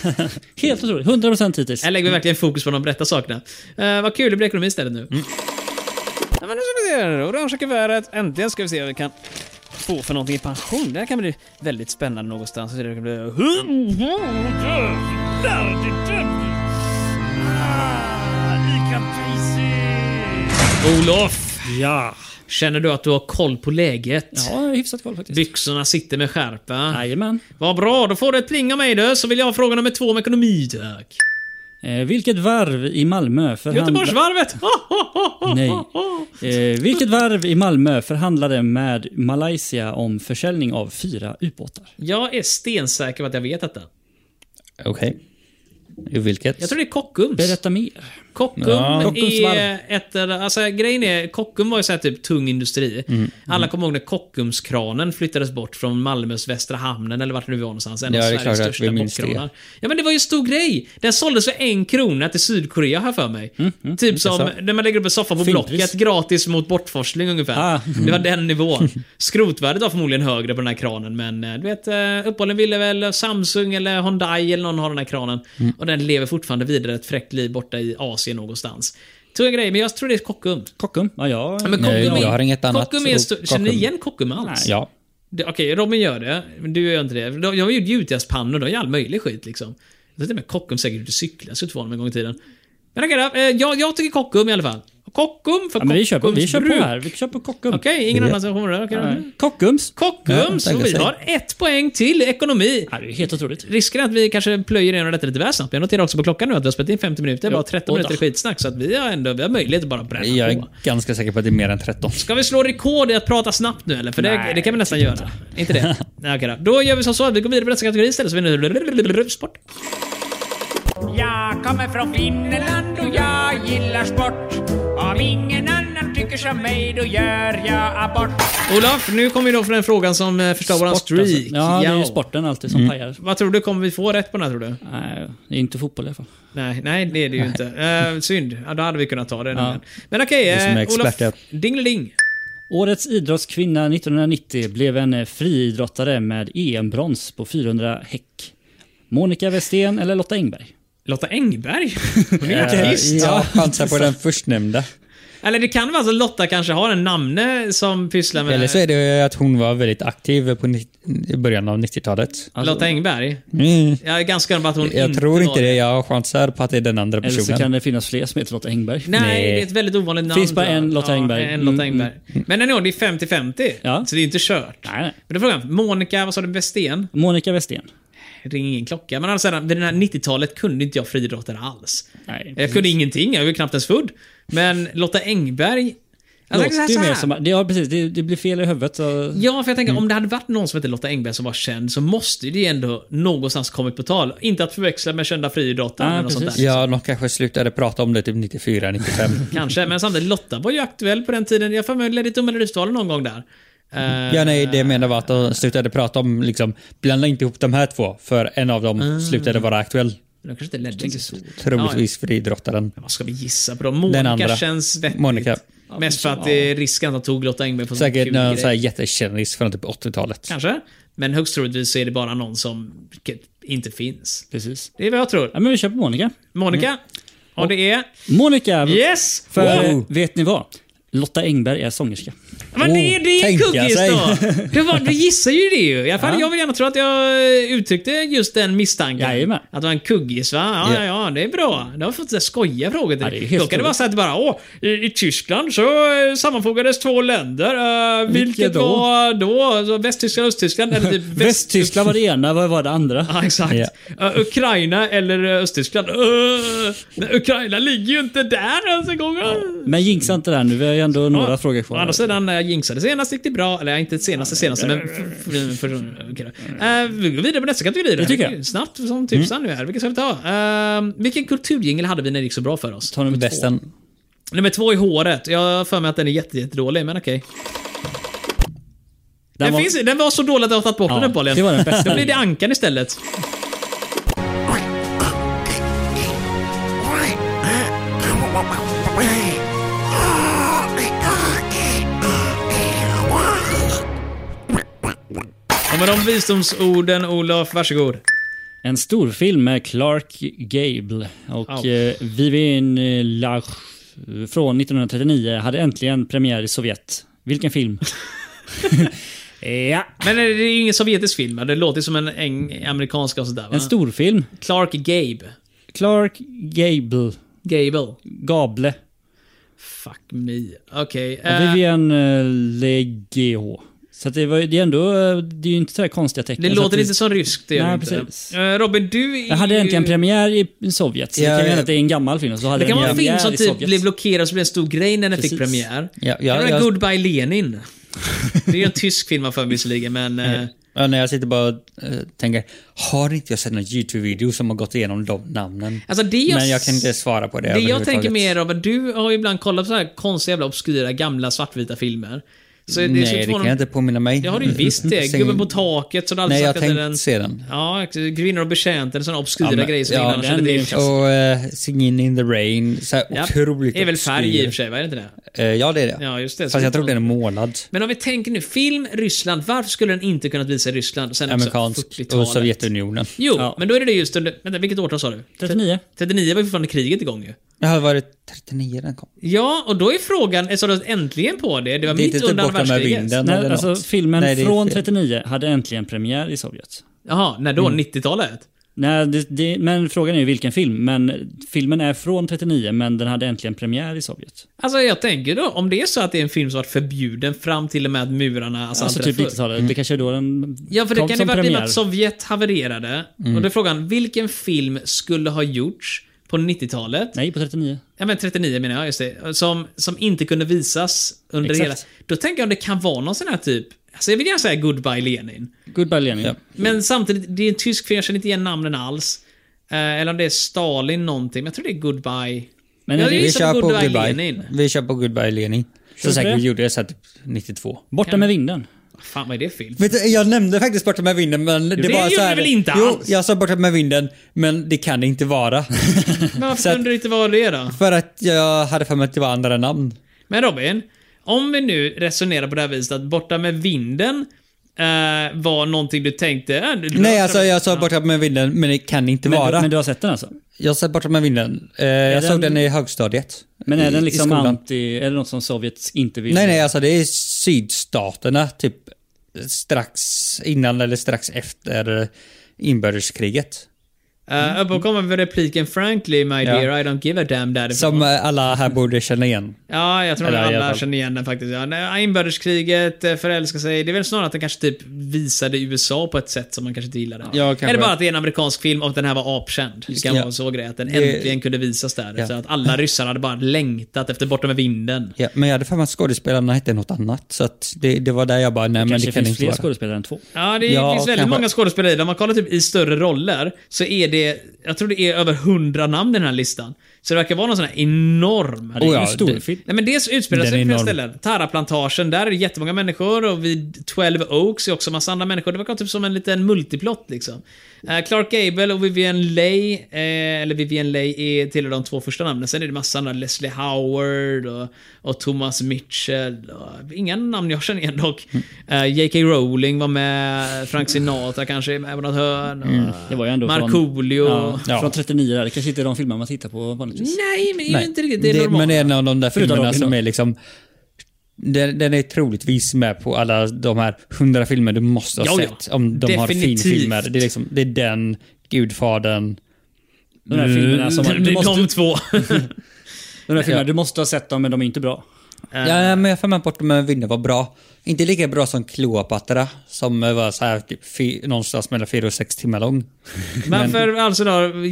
B: Helt otroligt. 100% hittills.
A: Här lägger vi verkligen fokus på de rätta sakerna. Eh, vad kul, det blir ekonomi istället nu. Ja, men nu ska vi se här. Orangea kuvertet. Äntligen ska vi se vad vi kan få för någonting i pension. Det här kan bli väldigt spännande någonstans. Så det kan bli... Olof!
B: Ja.
A: Känner du att du har koll på läget?
B: Ja, hyfsat koll faktiskt.
A: Byxorna sitter med skärpa.
B: Jajamän.
A: Vad bra, då får du ett pling av mig du, så vill jag ha fråga nummer två om ekonomi tack.
B: Eh, vilket varv i Malmö förhandlade...
A: Göteborgsvarvet!
B: Nej. Eh, vilket varv i Malmö förhandlade med Malaysia om försäljning av fyra ubåtar?
A: Jag är stensäker på att jag vet detta.
D: Okej. I Vilket?
A: Jag tror det är Kockums.
B: Berätta mer.
A: Kockum
D: Ja.
B: Kockums
A: är
B: varv.
A: ett... Alltså, grejen är, Kockum var ju så här typ tung industri.
D: Mm.
A: Alla kommer ihåg när Kockumskranen flyttades bort från Malmös Västra Hamnen, eller vart det nu var någonstans. En
D: Ja,
A: av
D: det är
A: Sveriges
D: klart att
A: största
D: vi minns
A: bockkranar. Ja, men det var ju en stor grej. Den såldes för en krona till Sydkorea, har jag för mig.
D: Mm,
A: typ som när man lägger upp en soffa på
B: Fintpris.
A: Blocket, gratis mot bortforsling ungefär.
B: Ah.
A: Det var den nivån. Skrotvärdet var förmodligen högre på den här kranen, men eh, du vet, eh, uppehållen ville väl Samsung eller Hyundai eller någon ha den här kranen. Och den lever fortfarande vidare ett fräckt liv borta i Asien någonstans. Tog en grej, men jag tror det är Kockum.
B: Kockum? Ja, jag...
A: Ja, men
D: Nej,
A: Kockum är-
D: jag har inget annat
A: Kockum är
D: ord.
A: st- Känner ni
D: Kockum.
A: igen Kockum alls?
D: Ja.
A: Det- Okej, Robin gör det, men du gör inte det. De, de har gjort gjutjärnspannor, de gör all möjlig skit liksom. Jag tänkte med Kockum säkert ute och cyklar, så var de en gång i tiden. Men okej då, eh, jag, jag tycker Kockum i alla fall. Kockum för
B: Ja, men vi kör på, vi
A: Kockums
B: kör på
A: bruk.
B: här. Vi kör på Kockum.
A: Okej, ingen annan som kommer där. Okej då.
B: Nej. Kockums?
A: Kockums,
D: Ja, tänker
A: och vi
D: sig.
A: har ett poäng till i ekonomi.
B: Ja, det är ju helt otroligt.
A: Risken att vi kanske plöjer igenom detta lite väl snabbt. Jag noterar också på klockan nu att vi har spelat in 50 minuter, bara 13
B: och
A: minuter
B: då.
A: skitsnack. Så att vi har ändå vi har möjlighet att bara bränna
D: Jag
A: på.
D: är ganska säker på att det är mer än 13.
A: Ska vi slå rekord i att prata snabbt nu eller? För det,
B: Nej,
A: det kan vi nästan göra. Inte, det? Nej, okej då. Då gör vi som så att vi går vidare på nästa kategori istället. Så vi nu... Sport.
E: Jag kommer från Finland och jag gillar sport. Om ingen annan tycker som mig, då gör jag abort.
A: Olof, nu kommer vi då från den frågan som eh, förstör våran
B: Sport,
A: streak.
B: alltså. Ja, det är
A: Ja. Mm.
B: ju sporten alltid som pajar.
A: Vad tror du? Kommer vi få rätt på den här tror du?
B: Nej, det är inte fotboll i alla fall.
A: Nej, nej det är det ju inte. Eh, synd. Ja, då hade vi kunnat ta det. nämligen. Men okej,
D: Vi som är
A: okay, Olof.
D: experter.
A: Dingeling.
B: Årets idrottskvinna 1990 blev en eh, friidrottare med EM-brons på 400 häck. Monica Westén eller Lotta Engberg?
A: Lotta Engberg? Hon är
D: Eh,
A: ju artist.
D: Jag chansar på den förstnämnda.
A: Eller det kan vara så att Lotta kanske har en namne som pysslar med...
D: Eller så är det att hon var väldigt aktiv på ni- i början av 90-talet.
A: Lotta Engberg?
D: Mm.
A: Jag är ganska övertygad om att hon
D: Jag
A: inte
D: tror
A: Mm, var
D: inte det. Jag chansar på att det är den andra
B: Eller så kan
D: personen.
B: det finnas fler som heter Lotta Engberg.
A: Nej,
D: Nej.
A: det är ett väldigt ovanligt namn.
B: Finns bara
A: tror jag.
B: en Lotta
A: ja,
B: Engberg.
A: En Lotta
B: Mm,
A: Engberg. Men ändå, det är 50-50.
B: Ja.
A: Så det är inte kört.
B: Nej, nej.
A: Men då är frågan, Monica, vad sa du, Westén?
B: Monica Westén.
A: Ring ingen klocka. Men alltså, vid det här 90-talet kunde inte jag friidrottare alls.
B: Nej,
A: jag kunde ingenting, jag var ju knappt ens född. Men Lotta Engberg... Jag tänker så här-
B: Låter ju
A: så
B: mer
A: här.
B: som... Det, ja, precis. Det, det blir fel i huvudet. Så...
A: Ja, för jag tänker
D: Mm.
A: om det hade varit någon som hette Lotta Engberg som var känd så måste ju det ändå någonstans kommit på tal. Inte att förväxla med kända friidrottare
B: Nej,
A: eller något sånt där.
B: precis.
D: Ja, de kanske slutade prata om det typ 94, 95.
A: Kanske, men samtidigt Lotta var ju aktuell på den tiden. Jag får mig Lady Dum eller Rysdalen någon gång där. Eh,
D: Mm. Ja, nej, det jag menar var att de slutade prata om, liksom, blanda inte ihop de här två, för en av dem
A: Ah.
D: slutade vara aktuell.
A: men de kanske inte ledde till så.
D: Troligtvis friidrottaren.
A: Vad ska vi gissa på då? Monica
D: Den andra.
A: känns vettigt.
D: Monica.
A: Mest för att det är risken att de tog Lotta Engberg på en
D: Säkert
A: kul grej.
D: någon så här jättekändis från typ 80-talet.
A: Kanske. Men högst troligtvis så är det bara någon som inte finns.
B: Precis.
A: Det är vad jag tror.
B: Ja, men vi kör på Monica.
A: Monica. Och det är...
B: Monica!
A: Yes!
B: Mm. För eh,
D: Wow.
B: vet ni vad? Lotta Engberg är sångerska.
A: Men det är
B: oh,
A: det är
D: tänka
A: kuggis
D: sig.
A: då! Du, var, du gissar ju det ju. I alla fall, Jag vill gärna tro att jag eh, uttryckte just den misstanken.
B: Jajamän.
A: Att det var en kuggis va? Ja, ja, ja, det är bra. Det har fått så här skojiga frågor till
B: Ja,
A: dig.
B: det är
A: Då
B: helt
A: kan det vara så att det bara, åh, i, i Tyskland så eh, sammanfogades två länder. Eh, vilket
B: Vilka då?
A: var då? Så Västtyskland och Östtyskland? Eller typ väst...
B: Västtyskland var det ena, vad var det andra?
A: Ja, exakt.
D: Ja.
A: Eh, Ukraina eller eh, Östtyskland? Eh, men Ukraina ligger ju inte där ens en gång.
B: Men jinxa inte det här nu, vi har ju ändå några
A: Ja.
B: frågor
A: Å
B: kvar.
A: andra sidan, när jag jinxade senast gick det bra. Eller inte senaste senaste, men... f- f- för- okej då. Eh, Vi går vidare på nästa kategori. Det
B: tycker jag. Mm.
A: Snabbt som tusan nu här. Vilka ska vi ta? Eh, vilken kulturjingel hade vi när det gick så bra för oss?
B: Ta nummer två.
D: Västen.
A: Nummer två i håret. Jag har för mig att den är jätte- jättedålig, men okej. Den,
B: var-
A: finns, den var så dålig att jag har tagit bort den uppenbarligen.
B: det var den bästa
A: Då blir det ankan istället. Och med de visdomsorden, Olof, varsågod.
B: En stor film med Clark Gable och
A: Au.
B: eh, Vivien eh, Lach från 1939 hade äntligen premiär i Sovjet. Vilken film? ja.
A: Men är det är ju ingen sovjetisk film, va? det låter som en eng- amerikansk och sådär va?
B: En stor film.
A: Clark Gabe.
B: Clark Gable.
A: Gable.
B: Gable.
A: Fuck me. Okej.
B: Ja,
A: eh,
B: Vivien eh, Legh. Så att det, var, ju- det är ändå, eh, det är ju inte sådär konstiga tecken.
A: det
B: så att
A: låter
B: vi-
A: inte som ryskt, det gör
B: Nej,
A: det inte.
B: precis.
A: Eh, Robin, du är
B: Jag hade
A: ju-
B: äntligen premiär i Sovjet, så
D: Ja,
B: det kan
D: ja.
B: ju hända att det är en gammal film. Så hade
A: Det kan
B: den
A: vara en film
B: premiär
A: som
B: i
A: typ
B: Sovjet.
A: blev blockerad och så blev en stor grej när den fick
B: Precis.
A: premiär.
D: Ja,
A: det
D: ja,
A: var den
D: jag-
A: Goodbye Lenin. Det är ju en tysk film för mig visserligen, men... eh,
D: Ja, när jag sitter bara och eh, tänker, har inte jag sett någon YouTube-video som har gått igenom de namnen?
A: Alltså det jag,
D: Men jag kan inte svara på det
A: Det jag
D: överhuvudtaget.
A: tänker mer av, du har ju ibland kollat på så här konstiga jävla obskyra gamla svartvita filmer. Så det är så
D: Nej, det
A: två-
D: kan jag inte påminna mig.
A: Det har du ju visst det.
D: Sen-
A: Gubben på taket som du alltid
D: Nej, jag
A: sagt att det är
D: tänkte se den.
A: Ja, Kvinnor och betjänten, sådana obskyra
D: Ja, men-
A: grejer som
D: ja,
A: ingen annan
B: den
A: känner
B: är ju
A: till.
B: en klassiker.
D: Och eh, Singin' in the Rain, så här
A: Ja,
D: otroligt
A: Det är väl färg i och
D: obskyr.
A: för sig, va? Är det inte det?
D: Eh, ja, det är det.
A: Ja, just det. Så
D: Fast
A: vi
D: jag tror
A: får-
D: det är en månad.
A: Men om vi tänker nu, film, Ryssland. Varför skulle den inte kunnat visa Ryssland sen också
D: Amerikansk
A: 40-talet?
D: och Sovjetunionen.
A: Jo,
B: Ja.
A: men då är det just under... Vänta, vilket årtal sa du?
B: 39.
A: 39 var ju fortfarande kriget igång ju.
D: Det har varit 39 den kom.
A: Ja, och då är frågan, är Soros äntligen på det? Det var
D: Det är
A: mitt
D: inte
A: under andra
D: Borta med
A: världskriget.
D: vinden
B: Nej,
D: eller
B: alltså
D: något.
B: filmen
D: Nej, det är
B: från
D: fel.
B: 39 hade äntligen premiär i Sovjet.
A: Jaha, när då? 90-talet?
B: Nej, det, det, men frågan är ju vilken film. Men filmen är från 39 men den hade äntligen premiär i Sovjet.
A: Alltså jag tänker då, om det är så att det är en film som varit förbjuden fram till och med att murarna... Alltså,
B: Alltså
A: aldrig
B: typ
A: förr.
B: 90-talet. Det kanske är då den
A: Ja, för det
B: kom
A: kan ju
B: som
A: varit i och med
B: premiär.
A: att Sovjet havererade. Och då är frågan, vilken film skulle ha gjorts på 90-talet?
B: Nej, på 39.
A: Ja men 39 menar jag, just det. Som, som inte kunde visas under
B: Exakt.
A: hela... Då tänker jag om det kan vara någon sån här typ... Alltså jag vill gärna säga Goodbye Lenin.
B: Goodbye Lenin.
D: Ja.
A: Men samtidigt, det är en tysk film, jag känner inte igen namnen alls. Eh, eller om det är Stalin någonting, men jag tror det är Goodbye...
B: Men
A: Ja,
B: är det-
A: det
D: Vi
A: är
D: kör
A: som
D: på
A: Goodbye,
D: Goodbye
A: Lenin.
D: Vi kör på Goodbye Lenin.
B: Kör
D: Så
B: vi
D: säkert
B: det?
D: vi gjorde det så här typ 92.
B: Borta med vinden.
A: Fan vad är det för film?
D: Vet du, jag nämnde faktiskt Borta med vinden men det,
A: det
D: var
A: gjorde
D: så här,
A: du väl inte
D: Jo,
A: alls?
D: jag sa Borta med vinden men det kan det inte vara.
A: Men varför
D: Så att-
A: kunde det inte vara det då?
D: För att jag hade för mig att det var andra namn.
A: Men Robin, om vi nu resonerar på det här viset att Borta med vinden eh, var någonting du tänkte... eh, du-
D: Nej, alltså jag sa Borta med vinden men det kan inte
B: Men,
D: vara.
B: du- men du har sett den alltså?
D: Jag sa Borta med vinden. Eh, jag såg
B: den-
D: den i högstadiet.
B: Men
D: I-
B: är den
D: i
B: liksom
D: skolan.
B: anti... Är det något som Sovjet inte vill?
D: Nej, nej, alltså det är sydstaterna typ strax innan eller strax efter inbördeskriget.
A: Eh,
D: Mm.
A: upp och kommer med repliken Frankly my dear, I don't give a damn därifrån.
D: Som eh, alla här borde känna igen.
A: Ja, jag tror
D: Eller i
A: att
D: alla
A: alla
D: fall.
A: känner igen den faktiskt. Ja, nej, inbördeskriget, eh, förälska sig. Det är väl snarare att den kanske typ visade USA på ett sätt som man kanske inte gillade.
D: Ja, kanske.
A: Eller bara att det är en amerikansk film och att den här var apkänd. Det kan
D: Ja.
A: vara en så grej. Att den
D: Det-
A: äntligen kunde visas där.
D: Ja.
A: Så att alla ryssar hade bara längtat efter Borta med vinden.
D: Ja, men jag hade för mig att skådespelarna hette något annat. Så att det, det var där jag bara, nej men
B: Kanske
D: det kan
B: finns
D: inte
B: fler
D: vara.
B: skådespelare än två.
A: Ja, det
D: Ja,
A: finns väldigt
D: kanske.
A: många skådespelare i det. Om man kollar typ i större roller så är det, jag tror det är över hundra namn i den här listan. Så det verkar vara någon sån här enorm.
B: Ja, det är
D: Oh
B: ju en
D: ja,
B: stor
D: det-
B: film.
A: Nej men dels utspelar
D: Den
A: sig
D: är
A: på flera
D: enorm.
A: ställen. Taraplantagen, där är det jättemånga människor och vid 12 Oaks är också massa andra människor. Det verkar typ som en liten multiplott liksom. Eh, Clark Gable och Vivian Leigh, eh, eller Vivian Leigh är tillhör de två första namnen. Sen är det massa andra, Leslie Howard och, och Thomas Mitchell. Och, inga namn jag känner igen dock.
B: Mm.
A: Eh, J.K. Rowling var med, Frank Sinatra kanske är med på något hörn. Och,
B: Mm. Det var ju ändå
A: Markoolio.
B: från... Ja,
D: Ja.
B: Från 39 där. Det kanske inte är de filmer man tittar på vanligtvis.
A: Nej, men det är ju
D: Nej,
A: inte riktigt det, normala.
D: men det är en av de där
B: Förutom
D: filmerna
B: Robin
D: som
B: då.
D: är liksom... Den, den är troligtvis med på alla de här hundra filmer du måste ha
A: Ja, ja.
D: sett. Om de har
A: Definitivt.
D: finfilmer. Det är liksom, det är den, Gudfadern.
B: De
D: Mm.
B: där filmerna som...
A: alltså, det
B: Du
A: är de
B: måste,
A: två.
B: de där filmerna, du måste ha sett dem men de är inte bra.
D: Ja, men jag får med bort med vinden var bra. Inte lika bra som Kleopatra som var så här typ fy, någonstans mellan fyra och sex timmar lång.
A: Varför, alltså då,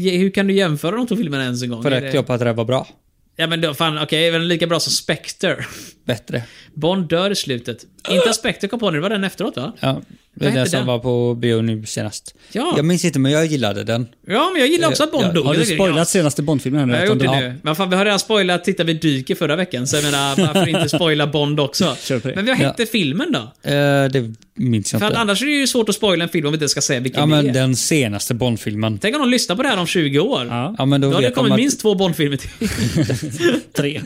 A: hur kan du jämföra de två filmerna ens en gång?
D: För
A: Är
D: att
A: det-
D: Kleopatra var bra.
A: Ja men då, fan, okej, är väl lika bra som Spectre?
D: Bättre.
A: Bond dör i slutet. Inte att Spectre kom på nu, det var den efteråt va?
D: Ja, det är
A: hette
D: den som
A: den?
D: var på bio nu senast.
A: Ja.
D: Jag minns inte men jag gillade den.
A: Ja, men jag gillar också att Bond
D: Ja,
A: dog.
B: Har du
A: Jag tycker-
B: spoilat
A: ja.
B: senaste Bond-filmen här nu?
A: Jag har
B: Anton?
A: gjort det
B: Ja.
A: nu. Men fan, vi har redan spoilat Titta vi dyker förra veckan, så jag menar varför inte spoila Bond också?
B: Kör på det.
A: Men vad hette filmen då?
D: Eh, det minns jag
A: För att
D: inte.
A: annars är det ju svårt att spoila en film om vi inte ska säga vilken
D: Ja
A: det
D: men
A: är.
D: den senaste Bondfilmen.
A: Tänk om de lyssnar på det här om 20 år?
B: Ja,
D: Ja men då
A: Då har det
D: vet de
A: kommit
D: att...
A: minst två Bondfilmer till.
B: tre.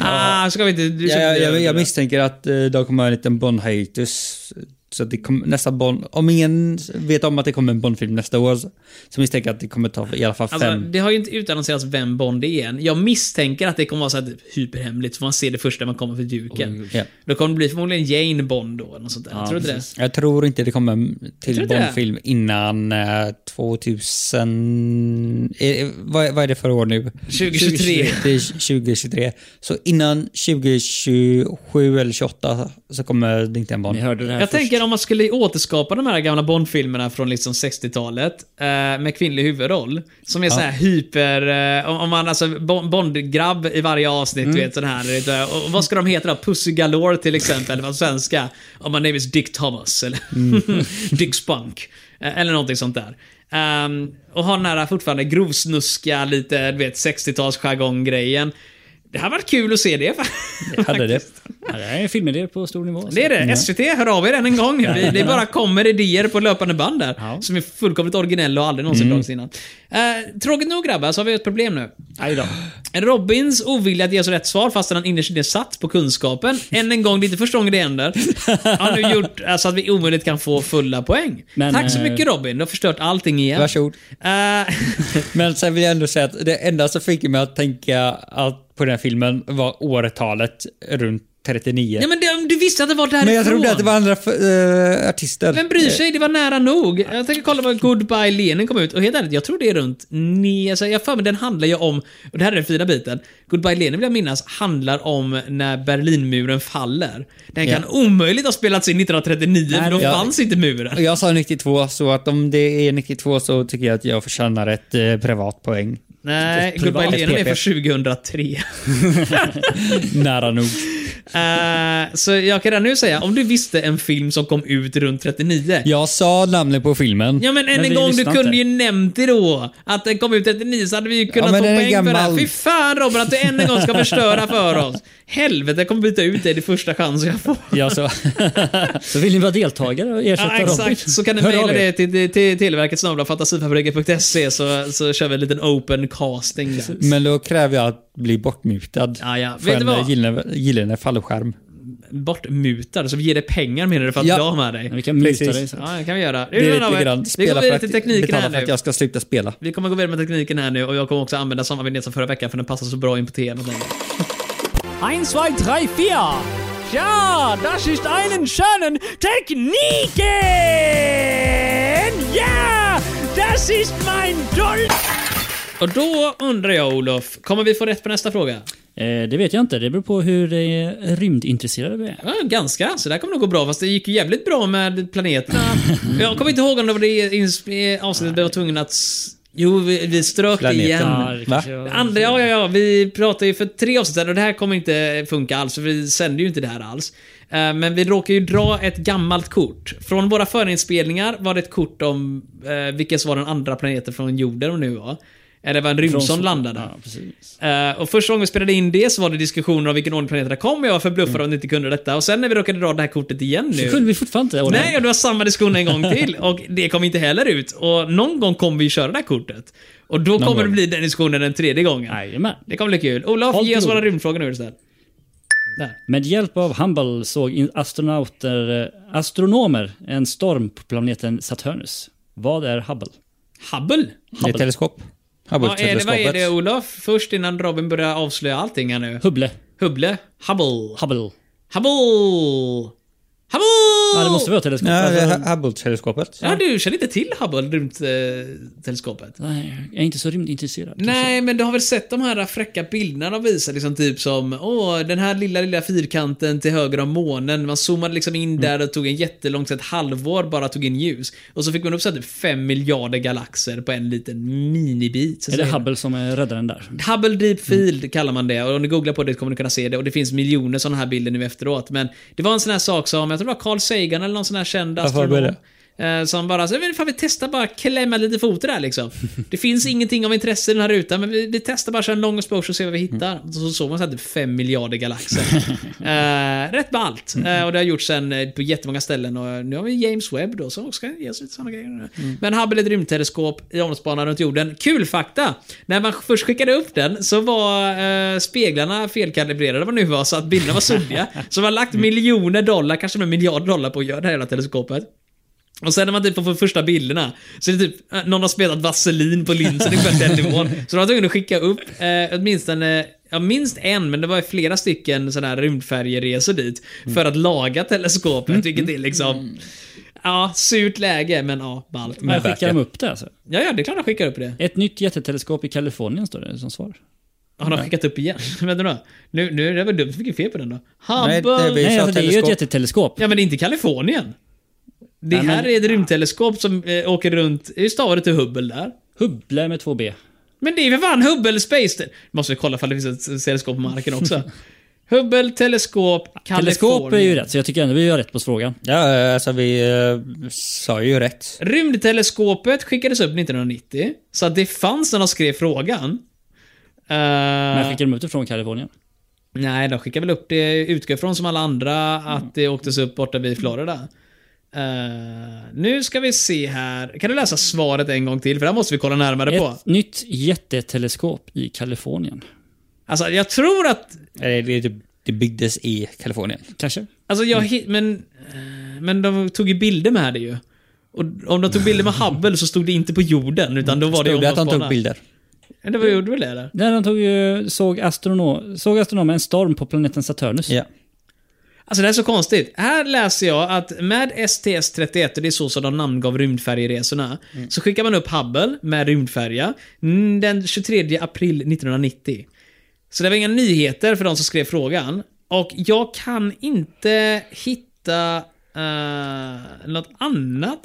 A: ah, ska vi inte... Du
D: Ja, jag, jag, jag misstänker att eh, det kommer en liten Bond-hiatus. Så att det kommer nästa Bond... Om ingen vet om att det kommer en Bond-film nästa år så så misstänker jag att det kommer ta i alla fall
A: Alltså,
D: fem.
A: det har ju inte utannonserats vem Bond är än. Jag misstänker att det kommer vara så här typ hyperhemligt, för man ser det först när man kommer för duken.
D: Ja.
A: Då kommer det bli förmodligen Jane Bond då, eller något sånt där. tror du inte det?
D: Jag tror inte det kommer en
A: tror
D: till
A: inte det.
D: Bond-film innan eh, 2000... Eh, vad, vad är det för år nu?
A: 2023.
D: Det är 2023. Så innan 2027 eller 28 så kommer det inte en Bond.
B: Ni hörde det här
A: Jag
B: först.
A: tänker om man skulle återskapa de här gamla Bond-filmerna från liksom 60-talet eh, med kvinnlig huvudroll. Som är så här hyper... Eh, om- om man alltså Bon- Bond-grabb i varje avsnitt, du vet sån här. du Vet, och vad ska de heta då? Pussy Galore till exempel, på svenska. Om man name is Dick Thomas eller Dick Spunk. eh, Eller någonting sånt där. Ehm, och har den här fortfarande grovsnuska, lite du vet 60-tals jargong-grejen. Det hade varit kul att se det.
D: Hade det.
B: Ja, det här är en filmidé på stor nivå. Mm.
A: Det är
D: Mm.
A: det. SVT, hör av er än en gång. Vi, det bara kommer idéer på löpande band där.
B: Ja.
A: Som är fullkomligt originella och aldrig någonsin
D: Mm.
A: dragits innan. Eh, tråkigt nog grabbar, så har vi ett problem nu.
B: Aj då.
A: Robins ovilja att ge oss rätt svar fastän han innerst inne satt på kunskapen. Än en gång, det är inte första gången det händer. Har nu gjort eh, så att vi omöjligt kan få fulla poäng.
B: Men,
A: Tack så
B: eh,
A: mycket Robin, du har förstört allting igen.
D: Varsågod.
A: Eh,
D: Men sen vill jag ändå säga att det enda som fick mig att tänka att på den här filmen var årtalet runt 39.
A: ja, men du, du visste att det var därifrån.
D: men jag trodde att det var andra eh, artister.
A: Vem bryr sig? Det var nära nog. Jag tänker kolla vad Goodbye Lenin kom ut. Och helt ärligt, jag tror det är runt nio... Alltså jag för mig, den handlar ju om... Och det här är den fina biten. Goodbye Lenin vill jag minnas handlar om när Berlinmuren faller. Den kan omöjligt ha spelats in 1939, för då
D: det-
A: fanns inte
D: Och
A: muren.
D: Jag sa 92, så att om det är 92 så tycker jag att jag förtjänar ett eh, privat poäng.
A: Nej,
D: Privat
A: Goodbye Lenin är
D: PP.
A: från 2003.
D: Nära nog.
A: Eh, så jag kan redan nu säga, om du visste en film som kom ut runt 39,
D: Jag sa namnet på filmen.
A: Ja men än
B: Men
A: en
B: vi
A: gång, du
B: lyssnar
A: kunde
B: inte.
A: ju nämnt det då. Att den kom ut 39 så hade vi ju kunnat
D: Ja, men
A: få
D: den är
A: poäng för det här.
D: gammal.
A: Fy fan Robin att du än en gång ska förstöra för oss. Helvete, jag kommer byta ut dig det är första chansen jag får.
D: Jag sa...
B: Så vill ni vara deltagare och ersätta
A: Ja,
B: Robin?
A: exakt. Så kan du
B: Hör
A: mejla
B: av er.
A: det till, till, till Televerket snabla fantasifabriken.se så, så kör vi en liten open casting. där.
D: Men då kräver jag att bli bortmutad.
A: Ja, ja.
D: För
A: Vet du
D: en
A: vad?
D: gyllene, gyllene fallskärm.
A: Bortmutad, så vi ger dig pengar menar du för att
D: Ja.
A: bli av med
B: Ja,
A: dig?
B: Vi kan muta
D: Precis.
B: dig. sen.
A: Ja, det kan vi göra.
D: Det är
A: Vi går
D: lite grann. Spela för
A: vidare till
D: att,
A: tekniken
D: betala
A: här
D: för att
A: nu.
D: jag ska sluta spela.
A: Vi kommer gå vidare med tekniken här nu och jag kommer också använda samma vignett som förra veckan för den passar så bra in på tvn.
E: Ein, zwei, drei, vier. Ja, das ist einen schönen Techniken. Ja, das ist mein Dolch.
A: Och då undrar jag Olof, kommer vi få rätt på nästa fråga?
B: Eh, Det vet jag inte. Det beror på hur eh, rymdintresserade vi
D: Mm.
B: är.
A: Ja, ganska, så det här kommer nog gå bra. Fast det gick ju jävligt bra med planeterna. Jag kommer inte ihåg om det var det ins- eh, avsnittet vi var tvungna att... s- Jo, vi, vi strök det
D: Planeten.
A: igen.
D: Ja,
B: det
D: Va?
B: kanske var-
A: Andra, ja, ja, ja, vi pratade ju för tre avsnitt sedan och det här kommer inte funka alls, för vi sände ju inte det här alls. Eh, Men vi råkar ju dra ett gammalt kort. Från våra förinspelningar var det ett kort om eh, vilken som var den andra planeten från jorden och nu var. Eh, Det var en rymd som landade.
B: Ja, precis.
A: Eh, och första gången vi spelade in det så var det diskussioner om vilken ordning planeterna kom och jag var förbluffad mm. att ni inte kunde detta. Och sen när vi råkade dra det här kortet igen
B: Så
A: nu.
B: kunde vi fortfarande inte ordna
A: Nej, och det var samma diskussion en gång till och det kom inte heller ut. Och någon gång kommer vi köra det här kortet. Och då kommer det
D: gång.
A: bli den diskussionen den tredje gången.
B: Jajamän.
A: Det kommer bli kul. Olof,
B: Håll
A: ge oss
B: till
A: våra
B: ord.
A: rymdfrågor nu istället. Där.
B: Med hjälp av Humble såg in- astronauter, eh, astronomer en storm på planeten Saturnus. Vad är Hubble?
A: Hubble?
D: Det är ett teleskop.
A: Vad är, det, vad är det
D: Hubble-teleskopet.
A: Olof? Först innan Robin börjar avslöja allting här nu.
B: Hubble.
A: Hubble? Hubble?
B: Hubble.
A: Hubble? Hubble!
B: Ja, det måste vara teleskop.
D: Nej, det
B: Alltså,
D: är Hubble-teleskopet.
A: Ja, du känner inte till Hubble, rymdteleskopet?
B: nej, jag är inte så rymdintresserad. kanske.
A: Nej, men du har väl sett de här fräcka bilderna de visar? Liksom typ som, åh, den här lilla, lilla fyrkanten till höger om månen. Man zoomade liksom
B: Mm.
A: in där och tog en jättelång, så ett halvår bara tog in ljus. Och så fick man upp så här typ 5 miljarder galaxer på en liten minibit. Så
B: Är det
A: säger man.
B: Hubble Mm. som är räddaren där?
A: Hubble Deep Field kallar man det och om ni googlar på det kommer ni kunna se det och det finns miljoner sådana här bilder nu efteråt. Men det var en sån här sak som, jag tror det var Carl Sagan eller någon sån här känd
D: Varför
A: astronom.
D: var
A: eh, Som bara, så, "Men fan, vi testar bara klämma lite foter där liksom. Det finns ingenting av intresse i den här rutan, men vi, vi testar bara så en long exposure och ser vad vi hittar. Och Så såg man så här typ 5 miljarder galaxer. eh, rätt ballt. Eh, och det har gjorts sen eh, på jättemånga ställen och eh, nu har vi James Webb då som också kan ge oss lite sådana grejer. Men Hubble är ett rymdteleskop i omloppsbana runt jorden. Kul fakta! När man först skickade upp den så var eh, speglarna felkalibrerade vad det nu var så att bilderna var suddiga. så man har lagt miljoner dollar, kanske med miljarder dollar på att göra det här jävla teleskopet. Och sen när man typ får första bilderna, så är det typ eh, någon har spelat vaselin på linsen, ungefär den nivån. Så de var tvungna att skicka upp eh, åtminstone Ja, minst en, men det var flera stycken sådana här rymdfärjeresor dit. För att laga teleskopet, vilket är liksom... Ja, surt läge, men ja, ballt.
B: Men skickar
D: verkar.
B: de upp det alltså?
A: Ja, ja, det är klart de skickar upp det.
B: Ett nytt jätteteleskop i Kalifornien står det som svar.
A: Har de skickat upp igen? Vänta då. Nu, nu, det var dumt, vi fick ju fel på den då.
D: Nej, det är
A: Hubble!
D: vi-
B: Nej,
D: sa
B: alltså, det är ju ett
D: teleskop.
B: jätteteleskop.
A: Ja, men det är inte Kalifornien. Det
B: Nej, men-
A: här är ett rymdteleskop som eh, åker runt, hur stavar det till Hubble där?
B: Hubble med två B.
A: Men det är för fan Hubble Space... Te- Måste vi kolla ifall det finns ett teleskop på marken också. Hubble teleskop
B: Teleskop
A: Kalifornien.
B: är ju rätt, så jag tycker ändå vi gör rätt på frågan.
D: Ja, alltså vi eh, sa ju rätt.
A: Rymdteleskopet skickades upp 1990, så att det fanns när de skrev frågan.
B: Men
A: Eh,
B: skickar de ut det från Kalifornien?
A: Nej, de skickar väl upp det, utgår från som alla andra, att det åktes upp borta vid Florida. Eh, nu ska vi se här. Kan du läsa svaret en gång till? För det här måste vi kolla närmare på.
B: Ett nytt jätteteleskop i Kalifornien.
A: Alltså, jag tror att...
D: Eller Eh, det, det, det byggdes i Kalifornien.
B: Kanske?
A: Alltså, jag
D: Mm.
A: hi- men, eh, men de tog ju bilder med det ju. Och om de tog bilder med Hubble så stod det inte på jorden, utan då var det
D: Mm. Stod det att han
A: omloppsbana.
D: tog bilder?
A: Ja, Det var gjorde väl det där?
B: Där de tog ju, såg, astrono- såg astronomer en storm på planeten Saturnus.
D: Ja.
A: Alltså det här är så konstigt. Här läser jag att med STS-31, och det är så som de namngav rymdfärjeresorna,
D: Mm.
A: så skickar man upp Hubble med rymdfärja mm, den 23 april 1990. Så det var inga nyheter för de som skrev frågan. Och jag kan inte hitta eh, något annat.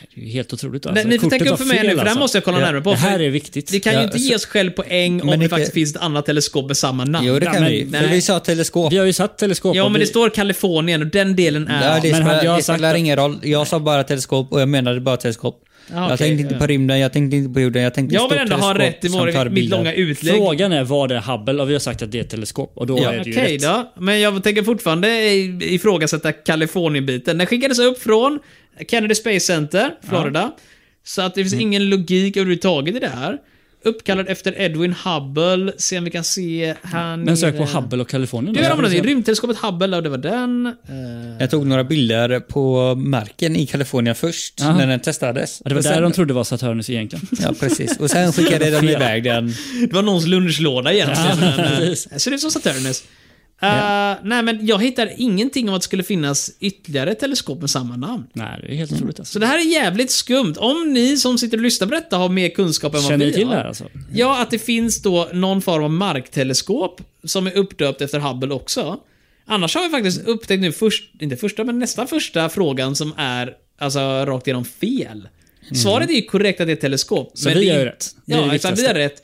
B: Nej, Det är ju helt otroligt. alltså.
A: Nej, ni får
B: Kortet
A: tänka upp
B: var
A: för mig
B: fel, alltså.
A: nu, för det här måste jag kolla
B: Ja,
A: närmare på,
B: Det här
A: för
B: är viktigt. alltså,
A: Vi kan
D: Ja,
A: ju inte ge oss själv poäng om
D: Men
A: det
D: det-
A: faktiskt finns ett annat teleskop med samma namn.
D: Jo, det kan
B: Ah, men-
D: vi. För
A: nej.
D: vi sa teleskop.
B: Vi har ju satt teleskop.
A: Ja,
B: och
A: men
B: vi-
A: det står Kalifornien och den delen är...
D: Ja, det
B: men hade jag
D: spelar, det
B: sagt
D: spelar
B: att-
D: ingen roll. Jag sa bara teleskop och jag menade bara teleskop.
A: Ah,
D: jag
A: okej,
D: tänkte inte
A: ja.
D: på rymden, jag tänkte inte på jorden, jag tänkte
A: Jag vill
D: stort
A: ändå ha
D: teleskop
A: rätt i
D: som
A: våra-
D: tar
A: mitt
D: bilder.
A: långa utlägg.
B: Frågan är, var det Hubble? Och vi har sagt att det är ett teleskop. Och då är det ju
A: Okej
B: rätt.
A: då, men jag tänker fortfarande i- ifrågasätta Kalifornien-biten. Den skickades upp från Kennedy Space Center, Florida. Så att det finns ingen logik överhuvudtaget i det här. Uppkallad efter Edwin Hubble. Se om vi kan se här
B: Men sök på Hubble och Kalifornien.
A: Du,
B: då.
A: jag använde rymdteleskopet Hubble, och det var den. Eh,
D: Jag tog några bilder på marken i Kalifornien först,
B: Aha.
D: när den testades.
B: Ja, det var
D: Och
B: där
D: sen,
B: de trodde var Saturnus egentligen.
D: Ja, precis. Och sen skickade de iväg den.
A: Det var någons lunchlåda egentligen.
B: Ja,
A: men, eh,
B: precis.
A: det ser ut som Saturnus. Eh, Nej, men jag hittar ingenting om att det skulle finnas ytterligare teleskop med samma namn.
B: Nej, det är helt otroligt alltså.
A: Så det här är jävligt skumt. Om ni som sitter och lyssnar på detta har mer kunskap än vad
B: Känner
A: vi
B: ni till
A: har.
B: det här alltså?
A: Ja, att det finns då någon form av markteleskop som är uppdöpt efter Hubble också. Annars har vi faktiskt upptäckt nu, först, inte första, men nästan första frågan som är alltså rakt igenom fel. Svaret är ju korrekt att det är ett teleskop.
B: Mm. Så
A: men
B: vi
A: det är
B: har ju
A: inte-
B: rätt. Det är det
A: Ja, exakt, vi har rätt.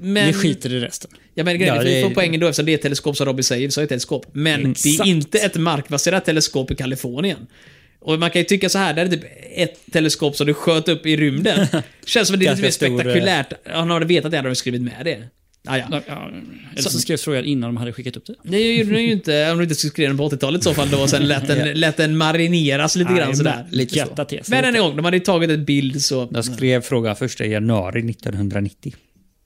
A: Men,
B: Vi skiter i resten.
A: Ja, men grejen är
D: Ja,
A: att vi
D: det-
A: får poängen då eftersom det är ett teleskop som Robbie säger, så är det ett teleskop. Men det är
B: Exakt.
A: inte ett markbaserat teleskop i Kalifornien. Och man kan ju tycka så här, det här är typ ett teleskop som du sköt upp i rymden. Känns som att det är lite mer
D: Ganska stor, eh,
A: spektakulärt. Han hade vetat det hade de skrivit med det. Ah, ja.
B: Ja, eller så skrevs frågan innan de hade skickat upp det.
A: Det gjorde de ju inte, om du inte skulle skriva den på 80-talet i så fall då, och sen lät den, lät den marineras lite grann sådär.
D: lite så.
B: Jätta tes.
A: Men än en gång, de hade ju tagit en bild så,
D: Jag skrev frågan första januari 1990.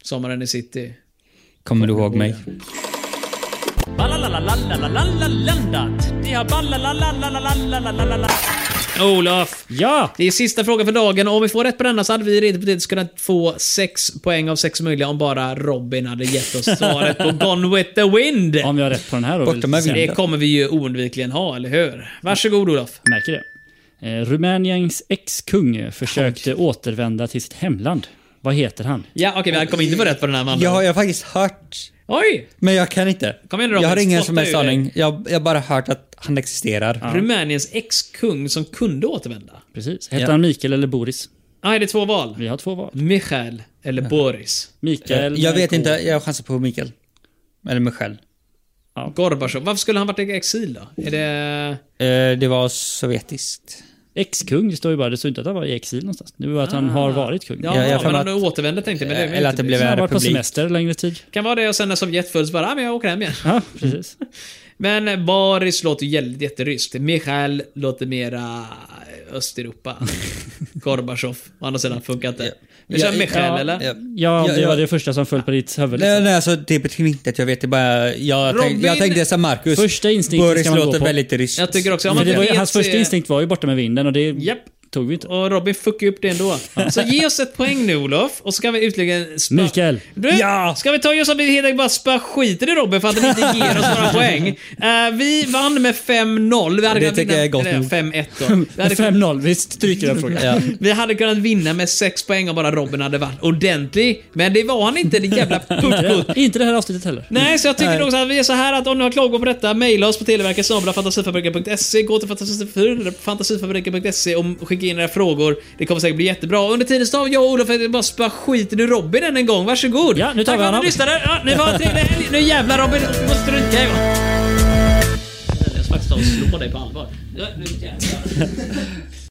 A: Sommaren i city.
D: Kommer du ihåg mig?
A: Olof!
B: Ja!
A: Det är sista frågan för dagen och om vi får rätt på denna så hade vi rent hypotetiskt kunnat få 6 poäng av 6 möjliga om bara Robin hade gett oss svaret på Gone with the Wind.
B: Om vi har rätt på den här då.
D: Bortom
B: vill
D: med
B: säga.
A: Det kommer vi ju oundvikligen ha, eller hur? Varsågod Olof.
B: Jag märker det. Eh, Rumäniens ex-kung försökte återvända till sitt hemland. Vad heter han?
A: Ja, okej, vi kommer inte få rätt på den här mannen.
D: Jag har jag har faktiskt hört,
A: Oj!
D: men jag kan inte.
A: Kom igen, Robin,
D: jag har ingen
A: spotta
D: som helst
A: ur dig.
D: aning. Jag jag har bara hört att han existerar.
A: Rumäniens ex-kung som kunde återvända.
B: Precis. Hette
D: Ja.
B: han Mikael eller Boris?
A: Nej, det är två val.
B: Vi har två val.
A: Michael eller Boris.
B: Mikael...
D: Eh, Jag vet
B: Michael-
D: inte, jag chansar på Mikael. Eller mig själv.
A: Gorbachev. Varför skulle han varit i exil då? Är det...
D: Eh, Det var sovjetiskt.
B: Ex-kung, det står ju bara. Det står inte att han var i exil någonstans. Det är bara att han har varit kung.
A: Ja,
D: Ah. Ja, jag
A: ja
D: får
A: men
D: att-
A: han återvände tänkte jag. men det är väl
D: Eller att
A: inte-
D: det blev
B: Han har
D: en
B: varit på
D: republik.
B: semester längre tid.
A: Kan vara det och sen när Sovjet föll så bara, ah, men jag åker hem igen.
B: Ja, precis.
A: Men Boris låter ju jätte- jätteryskt. Michael låter mera eh, Östeuropa. Gorbachev. Å andra sidan funkar inte. Vi kör
D: Ja,
A: Michael
B: ja,
A: eller?
D: Ja,
B: Ja,
D: Mm. Ja,
B: det
D: ja.
B: var det första som föll på ditt huvud.
D: Nej,
B: Liksom.
D: nej, alltså det betyder inte att jag vet. Det är bara, jag,
A: Robin-
D: tänkte, jag tänkte som Marcus.
B: Första instinkten
D: Boris
B: ska man gå
D: låter
B: på.
D: väldigt ryskt.
A: Jag tycker också, om man
B: För det var ju,
A: vet
B: hans första
A: är-
B: instinkt var ju borta med vinden och det
A: Japp.
B: tog vi inte.
A: eh, Och Robin fuckar ju upp det ändå. Så ge oss ett poäng nu Olof, och så kan vi utlägga... Spa...
B: Mikael.
A: Du,
D: Ja!
A: Ska vi ta just att vi helt enkelt bara spöar skiten i Robin för att han inte ger oss några poäng? Eh, vi vann med 5-0. Vi hade
D: Det
A: kunnat
D: tycker
A: vinna-
D: jag är gott
A: eller,
D: nog.
A: 5-1 då. Vi hade, kunnat,
B: 5-0, vi stryker den frågan.
D: Ja.
A: vi hade kunnat vinna med 6 poäng om bara Robin hade varit ordentlig. Men det var han inte, det jävla puckot.
B: Inte det här avsnittet heller.
A: Nej, så jag tycker nog så här, vi är så här att om ni har klagomål på detta, mejla oss på televerket snabel-a fantasifabriken.se, gå till fantasifur- fantasifabriken.se och skicka in era frågor. Det kommer säkert bli jättebra. Under tiden så har jag och Olof bara spöa skiten ur Robin än en gång. Varsågod!
B: Ja, nu tar
A: Tack
B: vi
A: för att
B: honom.
A: ni lyssnade. Ja, ni får ha en trevlig helg. Nu jävlar Robin, vi måste stryka er va? Jag ska faktiskt ta och slå dig på allvar. Ja, nu jävlar.